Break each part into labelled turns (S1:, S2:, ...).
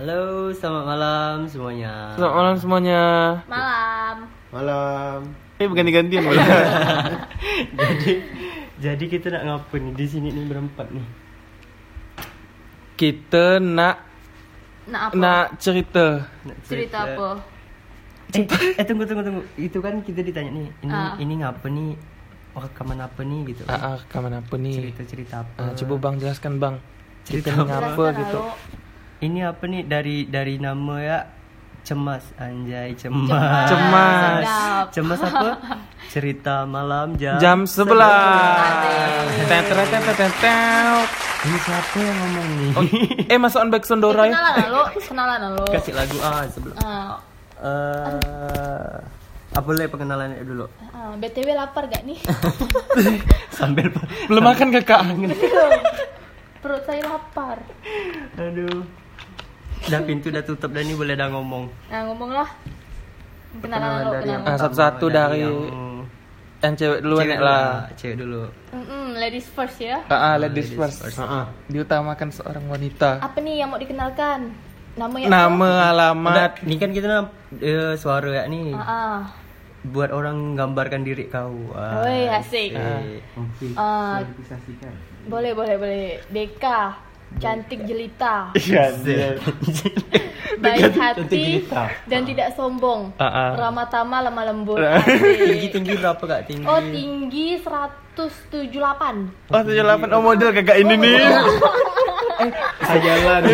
S1: Halo, selamat malam semuanya.
S2: Selamat malam semuanya.
S3: Malam.
S4: Malam.
S2: Eh berganti-gantian boleh.
S1: jadi jadi kita nak ngapain nih di sini nih berempat nih?
S2: Kita nak
S3: Nah apa?
S2: nak cerita.
S1: Nak
S3: cerita
S2: Iya.
S3: apa?
S1: Eh, eh tunggu tunggu tunggu. Itu kan kita ditanya nih. Ini
S3: Ah.
S1: ini ngapa nih? Rekaman apa nih gitu?
S2: Ah, ah, rekaman apa nih?
S1: Cerita cerita
S2: Ah,
S1: apa?
S2: coba bang jelaskan bang. Cerita
S1: Cerita
S2: ni
S3: Jelaskan
S2: apa gitu?
S3: lalu.
S1: Ini apa nih dari dari nama ya? Cemas anjay cemas.
S2: Cemas.
S3: Sedap.
S1: Cemas apa? cerita malam jam.
S2: Jam 11 Tet, tet, tet, tet, tet, tet.
S1: Ini siapa yang ngomong nih?
S2: Eh masuk on back
S3: Eh,
S2: Sondora ya?
S3: Kenalan lalu, kenalan lalu.
S1: Kasih lagu ah sebelum.
S3: Ah,
S1: Eh, apa boleh pengenalan dulu?
S3: ah, BTW lapar gak nih?
S1: Sambil
S2: Belum makan kakak.
S3: Perut saya lapar.
S1: Aduh. Dah pintu dah tutup dah ni boleh dah ngomong.
S3: Nah ngomonglah. Kenalan lalu, kenalan.
S2: Ah, satu-satu dari-
S1: yang-
S2: Yang cewek duluan
S1: cewek
S2: ya lah.
S1: Cewek dulu.
S3: Mm-mm, ladies first ya.
S2: Ah, ah, ladies first.
S4: Heeh.
S2: Diutamakan seorang wanita.
S3: Apa nih yang mau dikenalkan? Nama
S4: ya?
S3: yang
S2: Nama, alamat.
S1: Mat, ni kan kita nak eh, suara ya ni.
S3: Ah, ah.
S1: Buat orang gambarkan diri kau. Ah,
S3: Woi, asik.
S1: eh,
S4: Mungkin
S3: Ah,
S4: disaksikan.
S3: boleh boleh boleh. Deka, cantik jelita,
S4: Iya,
S3: baik hati dan tidak sombong.
S2: Ah, ah.
S3: Ramah tamah lemah lembut. Asik.
S1: Tinggi-tinggi berapa kak tinggi?
S3: Oh tinggi 178
S2: Oh, 78 oh model kakak ini nih.
S4: Sejalan.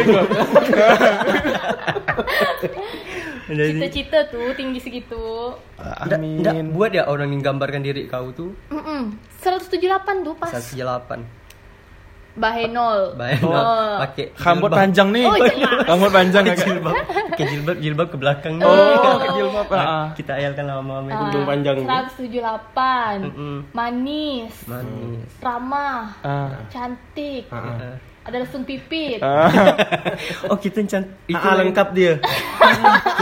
S1: Jadi,
S3: Cita-cita tuh tinggi segitu
S1: ndak- ndak buat ya orang yang gambarkan diri kau tu
S3: Mm-mm. 178 tuh pas
S1: 178.
S3: Bahenol
S1: Baik.
S3: Oh.
S1: nak Pakai
S2: Rambut
S1: jilbab.
S2: panjang nih.
S3: Oh,
S4: iya.
S3: jelas.
S2: Rambut panjang kakak.
S1: jilbab. Pakai jilbab jilbab ke belakang ni.
S2: Oh, jilbab. ah, ah.
S1: Kita ayalkan lama-lama
S3: Ah,
S1: dulu.
S4: panjang tu.
S3: 178
S1: Mm-mm.
S3: Manis
S1: Manis.
S3: Ramah
S2: Ah.
S3: Cantik
S1: Ah.
S3: Ada lesung pipit
S1: Oh kita can itu
S4: Ah, lengkap dia.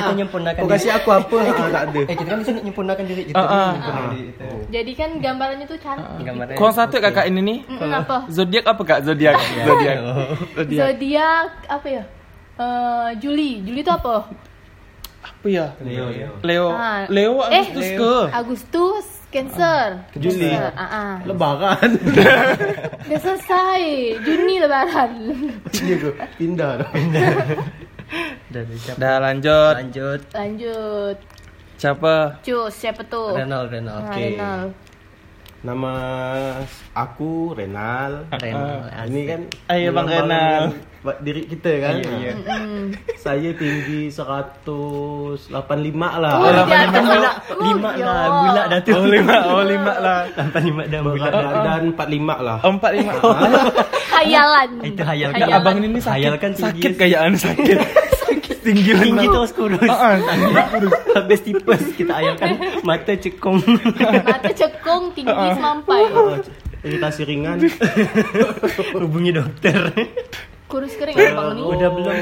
S1: kita nyempurnakan
S4: Kau
S1: diri.
S4: kasih aku apa? Ah, tak ada.
S1: Eh kita kan bisa nyempurnakan diri kita.
S2: Ah, ah.
S1: Nyempurnakan diri kita.
S3: Jadi kan gambarannya tuh cantik
S1: Gambarnya.
S2: Kurang satu ya kakak ini nih.
S1: Ah.
S3: Mm-mm, Apa?
S2: Zodiak apa kak? Zodiak. Zodiak. Zodiak.
S3: Zodiak Apa ya? Eh, Juli Juli itu apa?
S2: Apa ya?
S1: Iya,
S4: Leo, Leo.
S2: Leo. Leo
S3: Ah.
S2: Agustus
S3: eh,
S2: ke?
S3: Agustus Cancer
S4: Juli.
S3: Cancer, ah, ah.
S4: Lebaran.
S3: Udah selesai Juni lebaran
S4: Dia tu pindah dah.
S1: Dari siapa?
S2: Dah lanjut.
S1: Lanjut.
S3: Lanjut
S2: Siapa?
S3: Cus siapa tuh?
S1: Renal Renal.
S3: Ah,
S4: Oke.
S3: Renal
S4: Nama aku Renal.
S1: Renal.
S4: Ah, Ini kan
S2: Ayo, Bang Renal.
S4: melambangkan ba- Diri kita kan.
S1: Eh, iya.
S3: Mm.
S4: Saya tinggi 185 lah.
S3: Oh, di atas
S1: Gula,
S3: aku.
S1: lima
S3: Ya
S1: lah,
S3: Allah.
S1: gula dah tu.
S2: Oh lima, oh lima lah.
S1: Tanpa lima dah
S4: Berat
S1: bulat.
S4: dan 45 lah.
S2: Oh, Empat lima.
S3: Khayalan
S1: Itu hayal.
S2: Nggak,
S3: Hayalan.
S2: abang ini nih sakit.
S1: Hayal kan tinggi.
S2: sakit kayaknya sakit. sakit tinggi
S1: Tinggi
S2: renang.
S1: terus kurus.
S2: Ah, ah.
S1: Habis tipes kita ayalkan mata cekung.
S3: Mata cekung tinggi sampai
S4: Oh, Iritasi ringan.
S1: Hubungi dokter.
S3: Kurus kering
S1: Eh,
S3: abang ini
S4: Udah belum.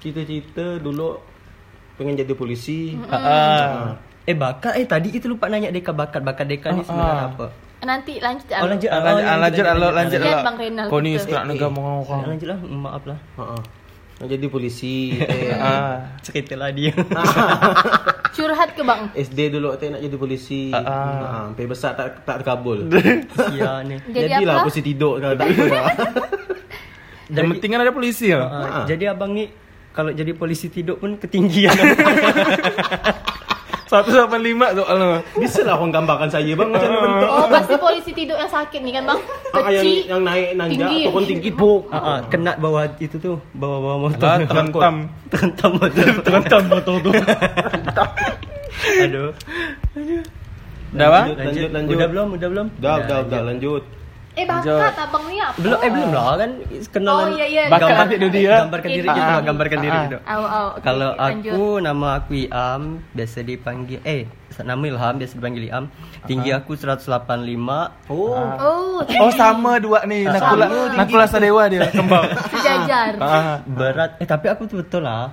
S4: Cita-cita dulu pengen jadi polisi.
S2: Ah, ah.
S1: Eh bakat eh tadi itu lupa nanya Deka bakat bakat Deka ni
S2: Ah,
S1: sebenarnya
S2: ah.
S1: apa?
S3: Nanti lanjut
S1: Oh lanjut
S2: Ah, lanjut, ah, lanjut, ah, lanjut, lanjut,
S3: Lihat
S2: ah.
S3: Bang Renal
S2: Kau nih
S3: kita.
S2: sekarang negara mau
S1: Ah,
S2: ngomong.
S1: Lanjut lah maaf lah.
S4: Heeh. Nak jadi polisi. Eh, teh.
S2: Ah,
S1: Ceritalah lah dia.
S3: Curhat ke bang
S4: SD dulu teh nak jadi polisi.
S2: Ah, ah.
S4: Ha, sampai besar tak tak terkabul.
S1: Sia ni.
S3: Jadi
S4: Jadilah
S3: apa?
S4: polisi tidur kalau tak boleh lah.
S2: yang penting kan ada polisi ya.
S1: Ah,
S4: Ah.
S1: Jadi abang ni kalau jadi polisi tidur pun ketinggian.
S2: Satu delapan lima ah. soalnya.
S4: Bisa lah orang gambarkan saya bang macam mana bentuk.
S3: Oh pasti polisi tidur yang sakit nih kan bang
S4: Ah, yang
S3: Kecil
S4: yang naik nanjak
S3: Tinggi.
S4: ataupun tinggi buk.
S1: Ah, ah, kena bawah itu tu, bawah-bawah motor.
S2: Alah, terentam.
S1: Terentam motor. terentam motor tu. Aduh.
S2: Dah ah? bang?
S4: Lanjut, lanjut, lanjut.
S1: Udah belum? Udah belum?
S4: Dah, dah,
S1: ya.
S4: dah lanjut.
S3: Eh bakat abang nih apa?
S1: Belum eh belum lah kan kenalan.
S3: Oh, iya, iya.
S2: Bakat nanti dia dia.
S1: Gambarkan diri
S3: Iya.
S1: kita, lah, gambarkan diri
S2: Ah, ah.
S1: kita.
S3: Aw, aw, oke,
S1: Kalau
S3: oke, lanjut.
S1: aku nama aku Iam, biasa dipanggil eh nama Ilham biasa dipanggil Iam. Tinggi
S2: Ah.
S1: aku 185.
S4: Oh,
S3: Oh
S2: Oh sama dua nih. Nakula, Nakula Sadewa dia kembang.
S3: sejajar
S2: Ah.
S1: Berat eh tapi aku tu betul lah.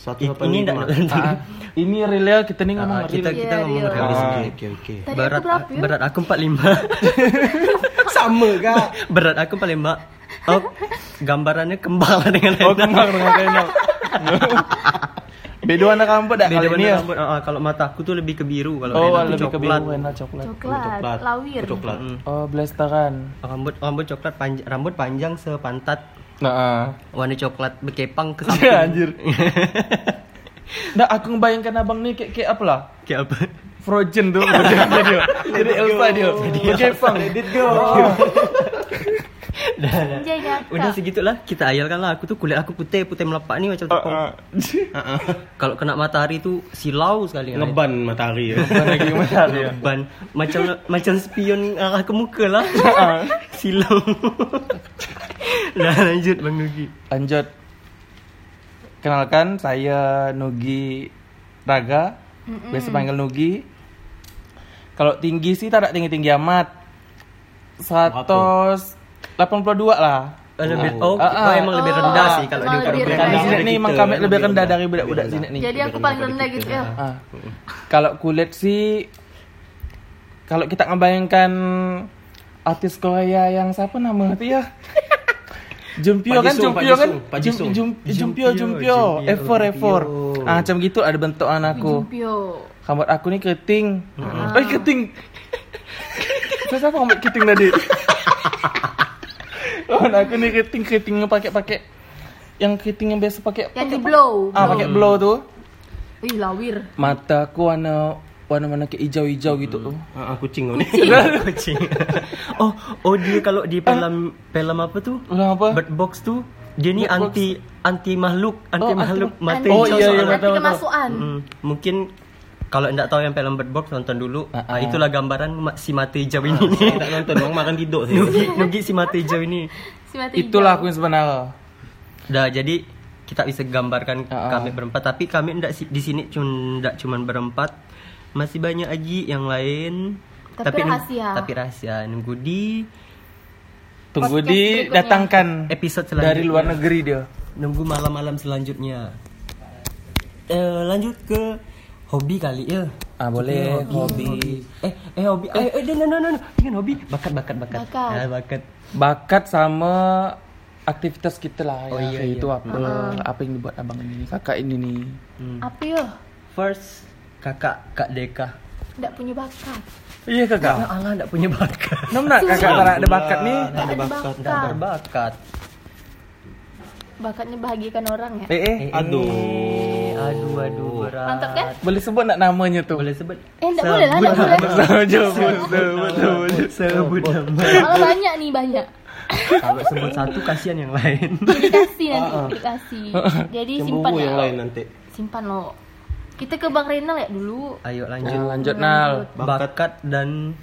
S4: satu
S1: I-
S4: apa
S1: Ini
S4: lima.
S1: enggak
S2: Ah, ini real kita nih ngomong
S1: Ah, kita
S2: real.
S1: kita
S3: Iya,
S1: ngomong
S3: iya.
S1: realistis.
S4: Okey,
S2: Ah,
S4: okey, okey.
S3: Tadi
S1: berat
S3: aku berapa ya?
S1: berat aku 45
S4: Kan Sama kak.
S1: berat aku paling mak oh, gambarannya kembang lah dengan
S2: Oh
S1: Lena.
S2: kembang dengan Reno. Bedo anak kampung dah
S1: Beda
S2: kali ini
S1: warna
S2: ya.
S1: rambut. Ah, ah, kalau mataku tuh lebih ke biru kalau
S2: Oh,
S1: Rena tuh
S2: lebih ke
S1: coklat.
S2: biruan, nah, coklat.
S3: Coklat,
S4: Coklat.
S3: lawir.
S4: Coklat.
S1: Mm.
S2: Oh, blasteran.
S1: Rambut rambut coklat panjang, rambut panjang sepantat
S2: Nah, ah.
S1: warna coklat berkepang ke samping.
S2: Ya, anjir. Nah, aku ngebayangkan abang nih kayak kayak apa lah?
S1: Kayak apa?
S2: Frozen tuh berjangka dia. Jadi Elsa dia. Berkepang. Oh.
S3: Anjay ngakak.
S1: Udah segitulah kita ayalkan lah. Aku tuh kulit aku putih, putih melepak nih macam tepung. Ha,
S2: Ah, ah.
S1: Kalau kena matahari tuh silau sekali. Ren.
S4: Ngeban matahari ya.
S2: Bukan lagi ya. gimana dia?
S1: Ban macam macam spion arah ke muka lah.
S2: Ah,
S1: silau. Dah lanjut Bang Nugi.
S2: Lanjut. Kenalkan saya Nugi Raga. Biasa panggil Nugi. Kalau tinggi sih tak ada tinggi-tinggi amat. 182 lah.
S1: Eh, Lebih, oh,
S2: Ah, ah.
S1: oh, emang lebih rendah sih kalau
S3: Emang
S1: diukur
S3: lebih
S1: berat.
S2: Kami
S3: rendah.
S2: sini nih Mang Kamit
S4: Kita
S2: lebih rendah
S4: lebih
S2: dari budak-budak
S4: rendah.
S2: sini nih.
S3: Jadi aku paling rendah gitu ya.
S2: Ah. Kalau kulit sih kalau kita ngebayangkan artis Korea yang siapa nama itu ya? Jumpio kan,
S4: Jisoo, Pak
S2: Jumpio kan,
S4: Jisoo, Pak
S2: Jum-
S4: Jisoo.
S2: Jum- Jumpio,
S1: Jumpio,
S2: Jumpio,
S1: Jumpio,
S2: Efor, Efor.
S1: Jumpio.
S2: Ah, macam gitu ada bentuk anakku.
S3: Jumpio.
S2: Rambut aku nih keriting.
S4: Ah.
S2: Eh, keriting. Terus apa rambut keriting tadi? Rambut aku nih keriting, keriting yang pakai-pakai yang keriting yang biasa pakai.
S3: Yang di
S2: pakai-
S3: blow.
S2: Ah, pakai
S4: Hmm.
S2: blow tuh.
S3: Ih, lawir.
S2: Mataku warna warna-warna kayak hijau-hijau gitu.
S4: Ah, ah, kucing kau ni.
S1: Kucing. oh, oh dia kalau
S2: Ah.
S1: di film film apa tuh?
S2: Ulang apa?
S1: Bird Box tuh dia nih
S2: Bird Box. Oh,
S1: anti anti makhluk, anti
S2: anti-
S1: makhluk mata
S3: Anti-
S2: Oh,
S1: hijau
S2: iya,
S1: soalnya.
S2: iya,
S3: Nanti
S2: betul, betul.
S3: kemasukan.
S4: Hmm.
S1: Mm, mungkin kalau enggak tahu yang film Bird Box nonton dulu.
S2: Ah,
S1: Ah, itulah gambaran ma- si mata hijau ini.
S4: Saya tak nonton bang makan tidur saya.
S1: Nugi, Nugi si mata hijau ini.
S3: Si mata hijau.
S2: Itulah aku yang sebenarnya.
S1: Dah jadi kita bisa gambarkan
S2: Ah, ah.
S1: kami berempat tapi kami enggak si- di sini cuma enggak cuman berempat. Masih banyak lagi yang lain.
S3: Tapi rahasia.
S1: Tapi rahasia nunggu di
S2: Tunggu
S3: Podcast
S2: di
S3: berikutnya.
S2: datangkan
S1: episode selanjutnya.
S2: dari luar negeri dia.
S1: nunggu malam-malam selanjutnya. Eh, lanjut ke hobi kali ya.
S2: Ah, boleh. Hobi.
S1: Eh, eh hobi. Eh, eh, no no no. no. Jangan hobi. Bakat, bakat, bakat.
S3: Bakat.
S1: Ah, bakat.
S2: Bakat sama aktivitas kita lah ya.
S1: Oh, iya,
S2: Kayak
S1: iya.
S2: itu apa? Apa yang dibuat abang ini, kakak ini nih.
S3: Apa ya?
S1: First kakak Kak Deka.
S3: Nggak punya bakat.
S2: Iya kakak.
S1: Ah, Allah enggak punya bakat.
S2: Nom nak kakak tak ada bakat nih.
S4: Tak ada bakat.
S1: Enggak berbakat.
S3: Bakatnya bahagiakan orang ya.
S2: Eh eh.
S1: Eh,
S4: Aduh.
S1: eh, aduh aduh
S4: Iya.
S1: berat.
S3: Mantap kan?
S2: Boleh sebut nak namanya tuh?
S1: Boleh sebut.
S3: Eh, nggak boleh lah, nggak
S1: Sebut.
S3: boleh.
S2: Sebut, sebut, sebut.
S1: Sebut nama.
S3: Kalau banyak nih banyak.
S1: Kalau sebut satu kasihan yang lain.
S3: Dikasih nanti, dikasih. Jadi simpan ya.
S4: Cemburu Ah, yang lain nanti.
S3: Simpan lo. Kita ke Bang Renal ya dulu.
S1: Ayo
S2: Lanjut,
S1: lanjut.
S2: lanjut Nal.
S1: Bakat, dan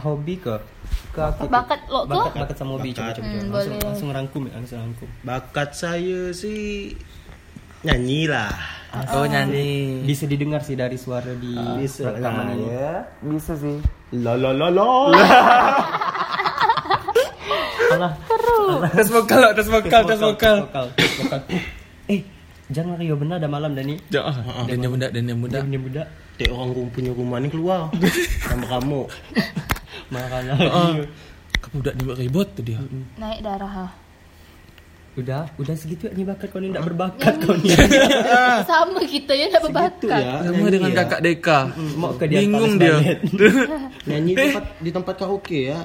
S1: hobi ke? Ke aku tuh.
S3: Bakat lo ke?
S1: bakat, bakat sama hobi coba coba, coba.
S3: Hmm,
S1: langsung,
S3: boleh.
S1: langsung rangkum ya langsung rangkum
S4: Bakat saya sih nyanyi lah.
S2: Oh nyanyi.
S1: bisa didengar sih dari suara di Iya.
S4: Bisa
S1: Ah, rekaman ini
S4: ya.
S2: Bisa sih.
S4: La la la la.
S1: alah
S2: Tes vokal, lah, tes vokal, tes vokal.
S1: vokal vokal. eh jangan Rio benar ada malam Dani
S2: Jangan. Dan yang muda, dan yang muda.
S1: dia punya budak
S4: Dek orang rum- punya rumah ni keluar. Sama kamu.
S1: makanya
S2: Iya. Budak dia buat ribut tuh dia.
S3: Naik darah. ha.
S1: udah udah segitu ya nih bakat kau ni tidak berbakat kau ni
S3: Sama kita ya nggak berbakat.
S2: Sama
S4: ya?
S2: dengan kakak Deka.
S1: Hmm, mau ke dia
S2: Bingung
S1: Palace
S2: dia.
S1: Ballet.
S4: Nyanyi
S2: Eh.
S4: di tempat di tempat karaoke ya.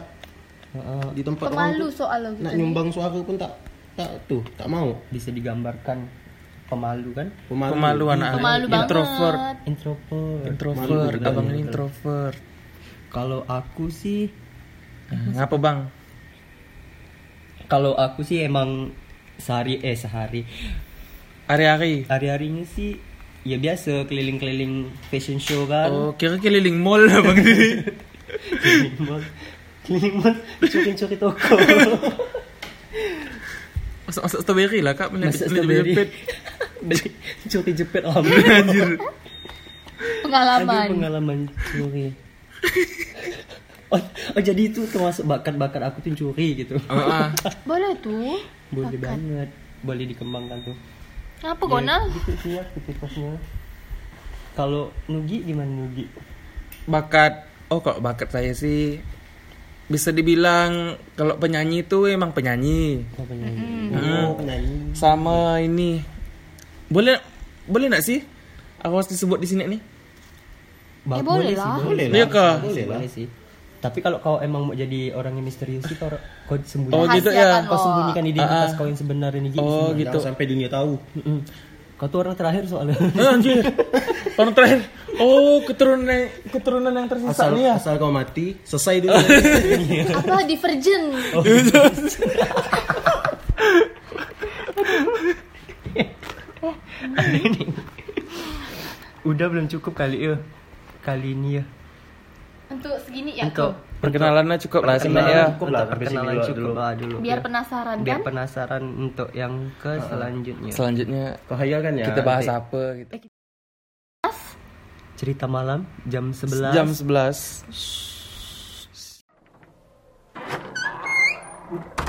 S4: Di tempat orang
S3: Pemalu
S4: tu
S3: soal lo gitu.
S4: nak nyumbang suara pun tak tak tu, tak mau.
S1: bisa digambarkan pemalu kan
S4: Pemalu.
S2: Pemalu anak
S3: Pemalu banget.
S2: Introvert.
S1: introvert
S2: Introvert, abang ini introvert.
S1: kalau aku sih Mm.
S2: Ngapa bang?
S1: kalau aku sih emang sehari eh sehari
S2: Hari-hari.
S1: hari-harinya sih ya biasa keliling-keliling fashion show kan
S2: Oh, kira keliling mall lah bang ini.
S1: keliling mall keliling mall cukin-cukin toko
S2: Masak-masak strawberry lah kak. Beli-
S1: masa
S2: beli- beli
S1: strawberry
S2: jepit.
S1: beli cuti jepit alhamdulillah
S3: Pengalaman.
S1: Aduh, pengalaman curi oh, oh, jadi itu termasuk bakat-bakat aku tuh curi gitu
S2: Ah, ah.
S3: Boleh tuh.
S1: boleh banget boleh dikembangkan tuh
S3: Apa kau nak?
S1: gitu sih aktivitasnya kalau Nugi gimana Nugi
S2: Bakat. Oh kok bakat saya sih bisa dibilang kalau penyanyi Ah. itu emang penyanyi
S1: apa nyanyi
S4: Oh, penyanyi.
S2: sama ini Boleh boleh nggak sih? Aku harus disebut di sini nih.
S1: Ba-
S3: Eh, boleh lah.
S4: Boleh lah.
S2: Iya kah?
S4: Boleh lah.
S1: Boleh sih. Tapi kalau kau emang mau jadi orang yang misterius sih kau, kau
S2: Oh,
S1: sembunyikan.
S2: gitu
S3: Rahasiakan
S2: ya.
S3: lo.
S1: Kau sembunyikan identitas
S2: Ah, ah.
S1: kau yang sebenarnya nih. Ji.
S2: Oh
S4: Jangan
S2: gitu.
S4: sampai dunia tahu.
S1: Mm-mm. Kau tuh orang terakhir soalnya.
S2: Eh, Anjir. Orang terakhir. Oh, keturunan keturunan yang tersisa
S4: Asal
S2: nih ya.
S4: asal kau mati, selesai dulu.
S3: Apa divergen?
S2: Oh.
S1: Udah belum cukup kali ya. Kali ini ya.
S3: Untuk segini ya.
S1: Untuk
S2: Perkenalannya cukup lah sebenarnya.
S1: Eh,
S2: ya.
S1: cukup lah perkenalan cukup lah dulu.
S3: Biar penasaran
S1: Biar
S3: kan?
S1: penasaran untuk yang ke selanjutnya.
S2: Selanjutnya
S4: Kau hayalkan ya.
S2: kita bahas
S4: nanti.
S2: apa gitu.
S1: Cerita malam jam 11.
S2: Jam 11.